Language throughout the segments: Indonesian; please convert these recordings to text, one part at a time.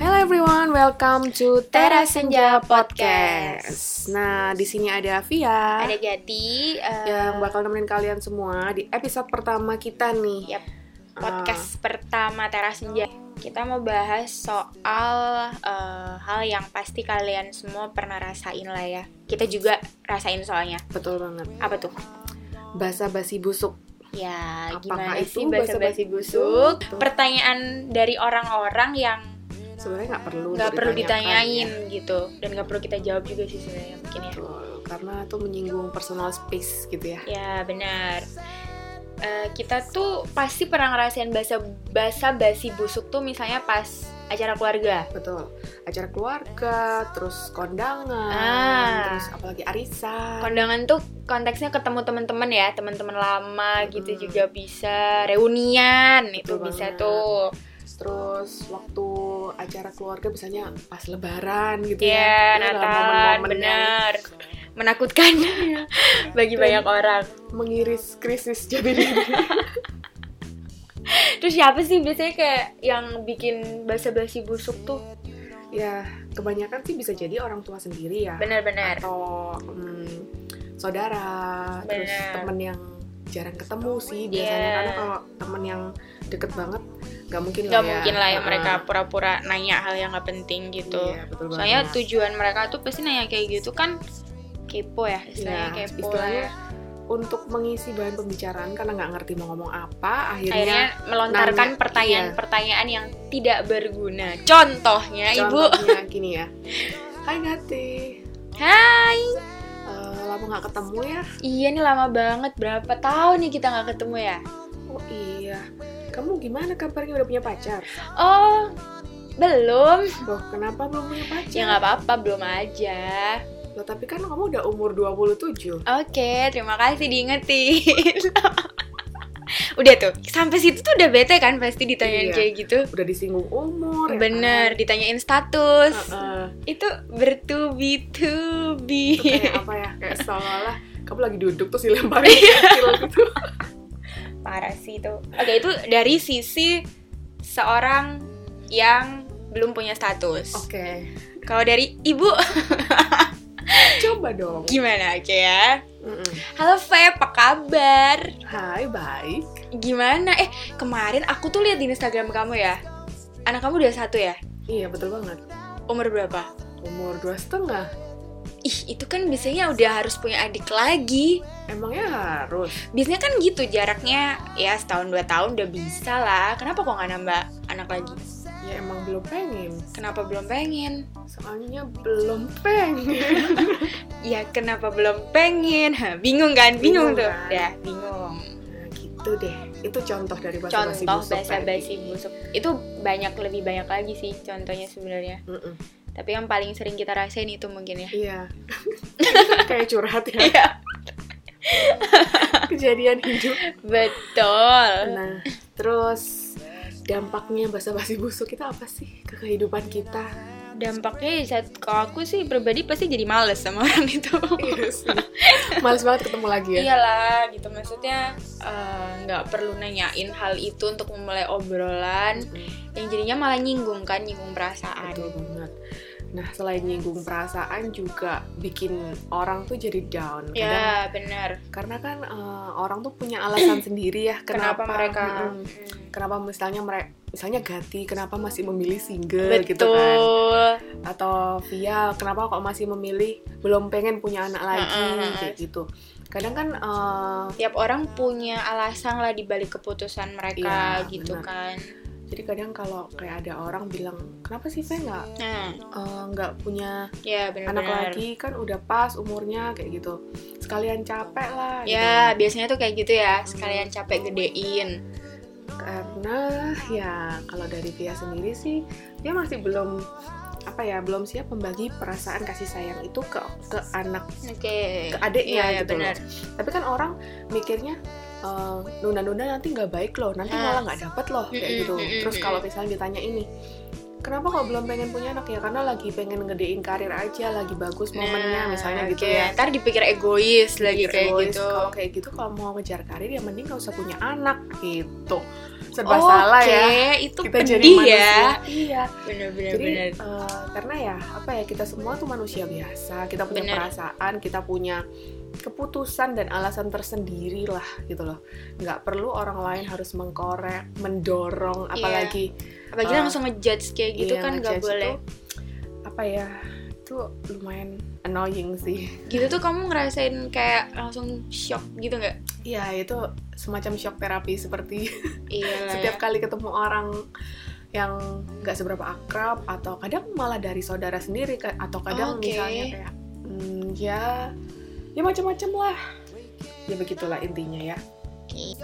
Hello everyone, welcome to Tera Teras Senja Senja Podcast. Nah, di sini ada Via Ada jadi eh, yang bakal nemenin kalian semua di episode pertama kita nih. yap, podcast pertama Teras Senja. Kita mau bahas soal eh, hal yang pasti kalian semua pernah rasain lah ya. Kita juga rasain soalnya. Ah, betul banget. Apa tuh? Bahasa basi busuk. Ya, Apakah gimana itu sih basa-basi basa-basi busuk? busuk? Pertanyaan dari orang-orang yang Sebenarnya nggak perlu. nggak perlu ditanyakan, ditanyain ya. gitu dan nggak perlu kita jawab juga sih sebenarnya mungkin ya. Betul, karena tuh menyinggung personal space gitu ya. Ya benar. Eh, kita tuh pasti pernah ngerasain bahasa bahasa basi busuk tuh misalnya pas acara keluarga. Betul. Acara keluarga, terus kondangan, Ah. terus apalagi arisan. Kondangan tuh konteksnya ketemu teman-teman ya, teman-teman lama gitu Hmm. juga bisa. Reunian itu Betul bisa banget. tuh. Terus waktu acara keluarga biasanya pas lebaran gitu Ya, ya. Itu adalah Natal momen-momen yang Iya. benar. Menakutkan bagi banyak orang. mengiris krisis jadi Terus siapa sih biasanya kayak yang bikin bahasa basi busuk tuh? ya kebanyakan sih bisa jadi orang tua sendiri ya Benar-benar. atau mm, saudara terus Benar. temen yang jarang ketemu sih biasanya Iya. karena kalau temen yang deket banget nggak mungkin Gak lah ya mungkin lah ya Heeh. mereka pura-pura nanya hal yang gak penting gitu. Iya, betul Soalnya banget. tujuan mereka tuh pasti nanya kayak gitu kan kepo ya, Iya, istilahnya kepo. ya. istilahnya lah. untuk mengisi bahan pembicaraan karena nggak ngerti mau ngomong apa akhirnya akhirnya, melontarkan nanya, iya. pertanyaan-pertanyaan yang tidak berguna. Contohnya, Ibu, contohnya gini ya Hai Gati "Hai, Eh, lama nggak ketemu ya iya nih lama banget. Berapa tahun nih kita nggak ketemu ya?" oh iya kamu gimana kabarnya udah punya pacar "Oh, belum." Loh, kenapa belum punya pacar? Ya nggak apa-apa, belum aja. Loh, tapi kan kamu udah umur 27. Oke, terima kasih diingetin. udah tuh, sampai situ tuh udah bete kan pasti Iya. ditanyain kayak gitu. Udah disinggung umur. ya kan? Bener, ditanyain status. Heeh. Itu bertubi-tubi. Itu kayak apa ya? Kayak seolah-olah kamu lagi duduk terus Iya. dilemparin kecil gitu. Parah sih itu. Oke, itu dari sisi seorang yang belum punya status. Oke, Kalau dari ibu coba dong. gimana oke ya? Mm-mm. Halo Feb, apa kabar? Hai, baik. Gimana? Eh, kemarin aku tuh lihat di Instagram kamu ya. Anak kamu udah satu ya? Iya, betul banget. Umur berapa? Umur dua setengah. Ih, itu kan biasanya udah harus punya adik lagi. Emangnya harus? Biasanya kan gitu jaraknya ya setahun dua tahun udah bisa lah. Kenapa kok nggak nambah anak lagi? Ya emang belum pengen. Kenapa belum pengen? Soalnya belum pengen. Ya kenapa belum pengen? Hah, bingung kan? Bingung, Bingung tuh. kan? Ya bingung. Nah, gitu deh. Itu contoh dari bahasa basi Contoh bahasa basi busuk itu banyak lebih banyak lagi sih contohnya sebenarnya. Tapi yang paling sering kita rasain itu mungkin ya. Iya. kayak curhat ya. Iya. Kejadian hidup. Betul. Nah, terus dampaknya basa-basi busuk kita apa sih ke kehidupan kita? Dampaknya ya saat kalau aku sih pribadi pasti jadi males sama orang itu. Iya sih. Males banget ketemu lagi ya. Iyalah gitu maksudnya eh, nggak perlu nanyain hal itu untuk memulai obrolan yang jadinya malah nyinggung kan nyinggung perasaan. Betul banget. Nah, selain nyinggung perasaan juga bikin orang tuh jadi down. Kadang- Ya benar. Karena kan eh, orang tuh punya alasan sendiri ya Kenapa, kenapa, mereka? Hmm. Mm-mm. kenapa misalnya mereka misalnya Gati kenapa masih memilih single Betul. gitu kan atau via kenapa kok masih memilih belum pengen punya anak lagi Heeh, heeh. kayak gitu kadang kan eh, Tiap orang punya alasan lah dibalik keputusan Iya, mereka gitu benar. kan. Jadi kadang kalau kayak ada orang bilang, kenapa sih saya nggak Nah, eh, nggak punya ya anak benar-benar. lagi kan udah pas umurnya kayak gitu. Sekalian capek lah. gitu. Ya, biasanya tuh kayak gitu ya, sekalian capek gedein. Karena ya kalau dari dia sendiri sih dia masih belum apa ya belum siap membagi perasaan kasih sayang itu ke ke anak Oke. ke adiknya Iya, iya, gitu benar. loh. Tapi kan orang mikirnya eh, nunda-nunda nanti nggak baik loh, nanti malah Ah. nggak dapet loh kayak Mm-mm, gitu. mm-mm, Terus mm-mm. kalau misalnya ditanya ini, kenapa kok belum pengen punya anak ya? Karena lagi pengen ngedein karir aja, lagi bagus momennya Nah, misalnya gitu oke. ya. Ntar dipikir egois lagi Pikir kayak egois, gitu. Kalau kayak gitu kalau mau ngejar karir ya mending nggak usah punya anak gitu. Serba salah Oke, ya. itu Kita jadi pedih manusia. ya. Iya. Bener-bener. Jadi bener. eh, karena ya apa ya kita semua tuh manusia biasa, kita punya Bener. perasaan, kita punya keputusan dan alasan tersendiri lah gitu loh. Nggak perlu orang lain harus mengkorek, mendorong, Iya. apalagi Apalagi eh, langsung ngejudge kayak gitu iya, kan nggak ngejudge boleh. itu, apa ya itu lumayan annoying sih. Gitu tuh kamu ngerasain kayak langsung shock gitu nggak? Iya itu semacam shock terapi seperti Iya lah. setiap kali ketemu orang yang nggak seberapa akrab atau kadang malah dari saudara sendiri ka- atau kadang Oke. misalnya kayak hmm, ya ya macam-macam lah ya begitulah intinya ya Oke.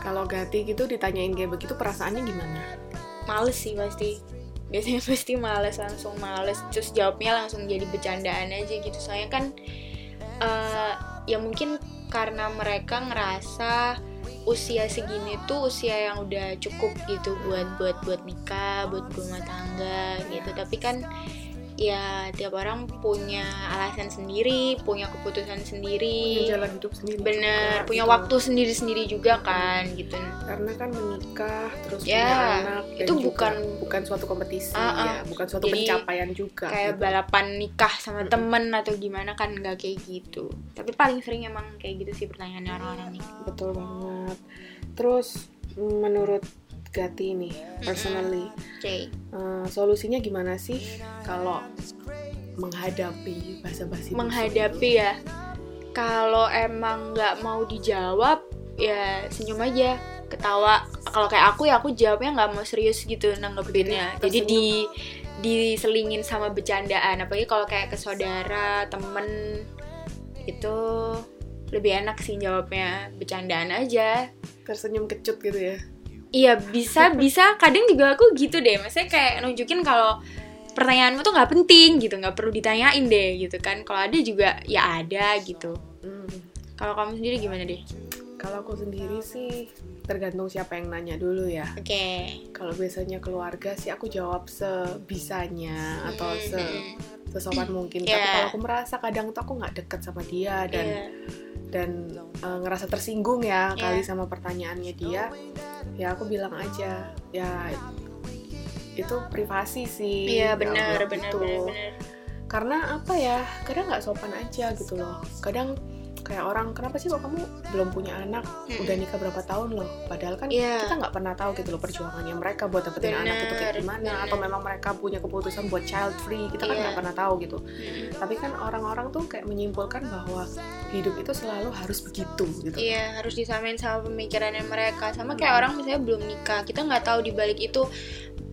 kalau Gati gitu ditanyain kayak begitu perasaannya gimana Males sih pasti. Biasanya pasti males langsung males. Terus jawabnya langsung jadi bercandaan aja gitu. Soalnya kan eh, ya mungkin karena mereka ngerasa usia segini tuh usia yang udah cukup gitu buat buat buat nikah, buat rumah tangga gitu. Tapi kan ya tiap orang punya alasan sendiri, punya punya keputusan sendiri. jalan hidup sendiri Iya. Bener, juga, punya gitu. waktu sendiri-sendiri juga kan gitu. karena kan menikah terus Ya, punya anak dan itu juga bukan- bukan suatu kompetisi Ah, ah. ya bukan suatu Jadi, pencapaian juga Kayak gitu. balapan nikah sama Mm-mm. temen atau gimana kan nggak kayak gitu. Tapi paling sering emang kayak gitu sih pertanyaannya orang-orang nih. Betul banget. Terus menurut Gati nih, personally, Oke. eh, solusinya gimana sih kalau menghadapi basa-basi? busuk menghadapi ya kalau emang nggak mau dijawab ya senyum aja ketawa kalau kayak aku ya aku jawabnya nggak mau serius gitu nanggepinnya Berarti jadi di diselingin sama bercandaan apalagi kalau kayak ke saudara temen itu lebih enak sih jawabnya bercandaan aja itu? Tersenyum kecut gitu ya? iya bisa bisa kadang juga aku gitu deh maksudnya kayak nunjukin kalau pertanyaanmu tuh nggak penting gitu nggak perlu ditanyain deh gitu kan kalau ada juga ya ada gitu Hmm. kalau kamu sendiri gimana deh? Kalau aku sendiri sih tergantung siapa yang nanya dulu ya. Oke. Kalau biasanya keluarga sih aku jawab sebisanya atau se sesopan mungkin. Tapi Hmm. Yeah. kalau aku merasa kadang tuh aku nggak deket sama dia dan dan eh, ngerasa tersinggung ya Iya. kali sama pertanyaannya dia ya aku bilang aja ya itu privasi sih Iya nggak benar boleh benar gitu. benar benar. karena apa ya kadang nggak sopan aja gitu loh kadang kayak orang kenapa sih kok kamu belum punya anak Mm-mm. udah nikah berapa tahun loh padahal kan Hmm. Iya. kita nggak pernah tahu gitu loh perjuangannya mereka buat dapetin anak itu kayak Benar, gimana benar. atau memang mereka punya keputusan buat child free kita kan Iya. nggak pernah tahu gitu Mm-mm. tapi kan orang-orang tuh kayak menyimpulkan bahwa hidup itu selalu harus begitu gitu Iya harus disamain sama pemikirannya mereka sama Hmm. kayak orang misalnya belum nikah kita nggak tahu di balik itu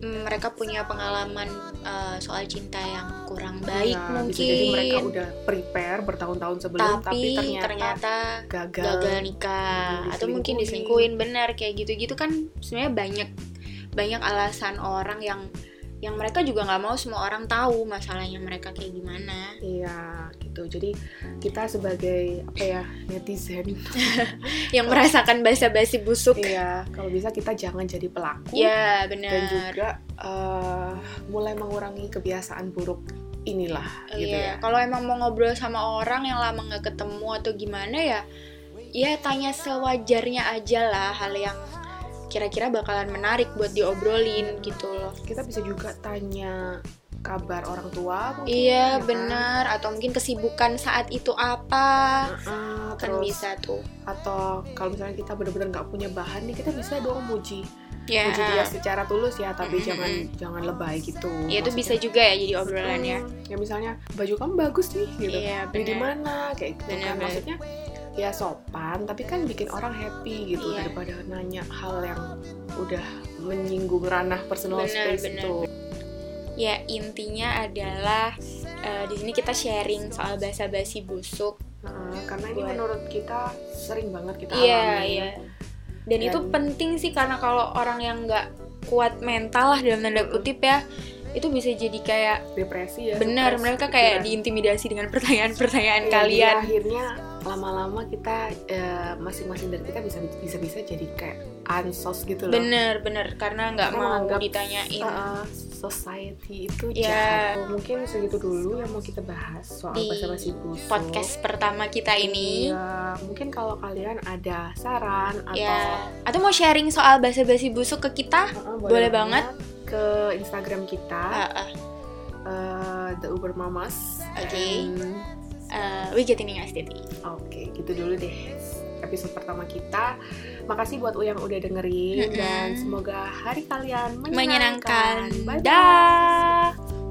mm, mereka punya pengalaman eh, soal cinta yang kurang baik Ya, mungkin bisa jadi mereka udah prepare bertahun-tahun sebelum tapi, tapi, ternyata, ternyata gagal. gagal nikah atau mungkin Diselingkuhin. diselingkuhin benar kayak gitu-gitu kan sebenarnya banyak banyak alasan orang yang yang mereka juga nggak mau semua orang tahu masalahnya mereka kayak gimana Iya, gitu. Jadi kita sebagai apa ya netizen, yang merasakan basa-basi busuk iya kalau bisa kita jangan jadi pelaku ya dan benar juga eh, mulai mengurangi kebiasaan buruk inilah. Oh, gitu ya. iya. kalau emang mau ngobrol sama orang yang lama nggak ketemu atau gimana ya ya tanya sewajarnya aja lah hal yang kira-kira bakalan menarik buat diobrolin gitu loh Kita bisa juga tanya kabar orang tua mungkin. ya Iya kan? benar atau mungkin kesibukan saat itu apa Heeh, kan terus bisa tuh atau kalau misalnya kita benar-benar nggak punya bahan nih kita bisa dong muji ya puji dia secara tulus ya tapi Mm-mm. jangan jangan lebay gitu ya itu bisa Maksudnya, juga ya jadi obrolan ya mm, ya misalnya baju kamu bagus nih gitu iya beli di benar mana kayak gitu kan Benar-benar. maksudnya ya sopan tapi kan bikin orang happy gitu Iya. daripada nanya hal yang udah menyinggung ranah personal Benar, space benar. itu ya intinya adalah eh, di sini kita sharing soal basa-basi busuk Nah, karena ini Buat- menurut kita sering banget kita iya alami iya dan itu Dan- penting sih karena kalau orang yang nggak kuat mental lah dalam tanda Mm-mm. kutip ya itu bisa jadi kayak depresi ya benar stres, mereka pikiran. kayak diintimidasi dengan pertanyaan-pertanyaan Iya, kalian jadi akhirnya lama-lama kita eh, masing-masing dari kita bisa bisa bisa jadi kayak ansos gitu loh bener bener karena nggak Kita mau menganggap, ditanyain Uh, society itu Ya. jahat. Mungkin segitu dulu yang mau kita bahas soal Di basa-basi busuk. podcast pertama kita ini Iya, mungkin kalau kalian ada saran atau ya atau mau sharing soal basa-basi busuk ke kita Uh-uh, Boleh banget. ke Instagram kita Ah, ah, uh, the Uber Mamas. Oke. And- eh, we getting aesthetic Oke, gitu dulu deh episode pertama kita. Makasih buat U yang udah dengerin Mm-mm. dan semoga hari kalian menyenangkan. menyenangkan. Bye-bye. Dah.